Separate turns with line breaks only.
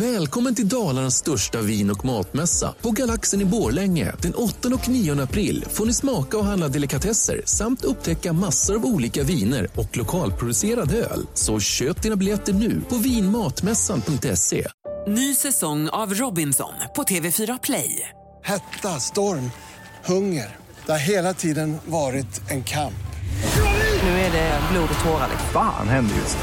Välkommen till Dalarnas största vin och matmässa på Galaxen i Borlänge. Den 8 och 9 april får ni smaka och handla delikatesser samt upptäcka massor av olika viner och lokalproducerad öl. Så köp dina biljetter nu på vinmatmässan.se.
Ny säsong av Robinson på TV4 Play.
Hetta, storm, hunger. Det har hela tiden varit en kamp.
Nu är det blod och tårar. liksom.
Fan händer just nu.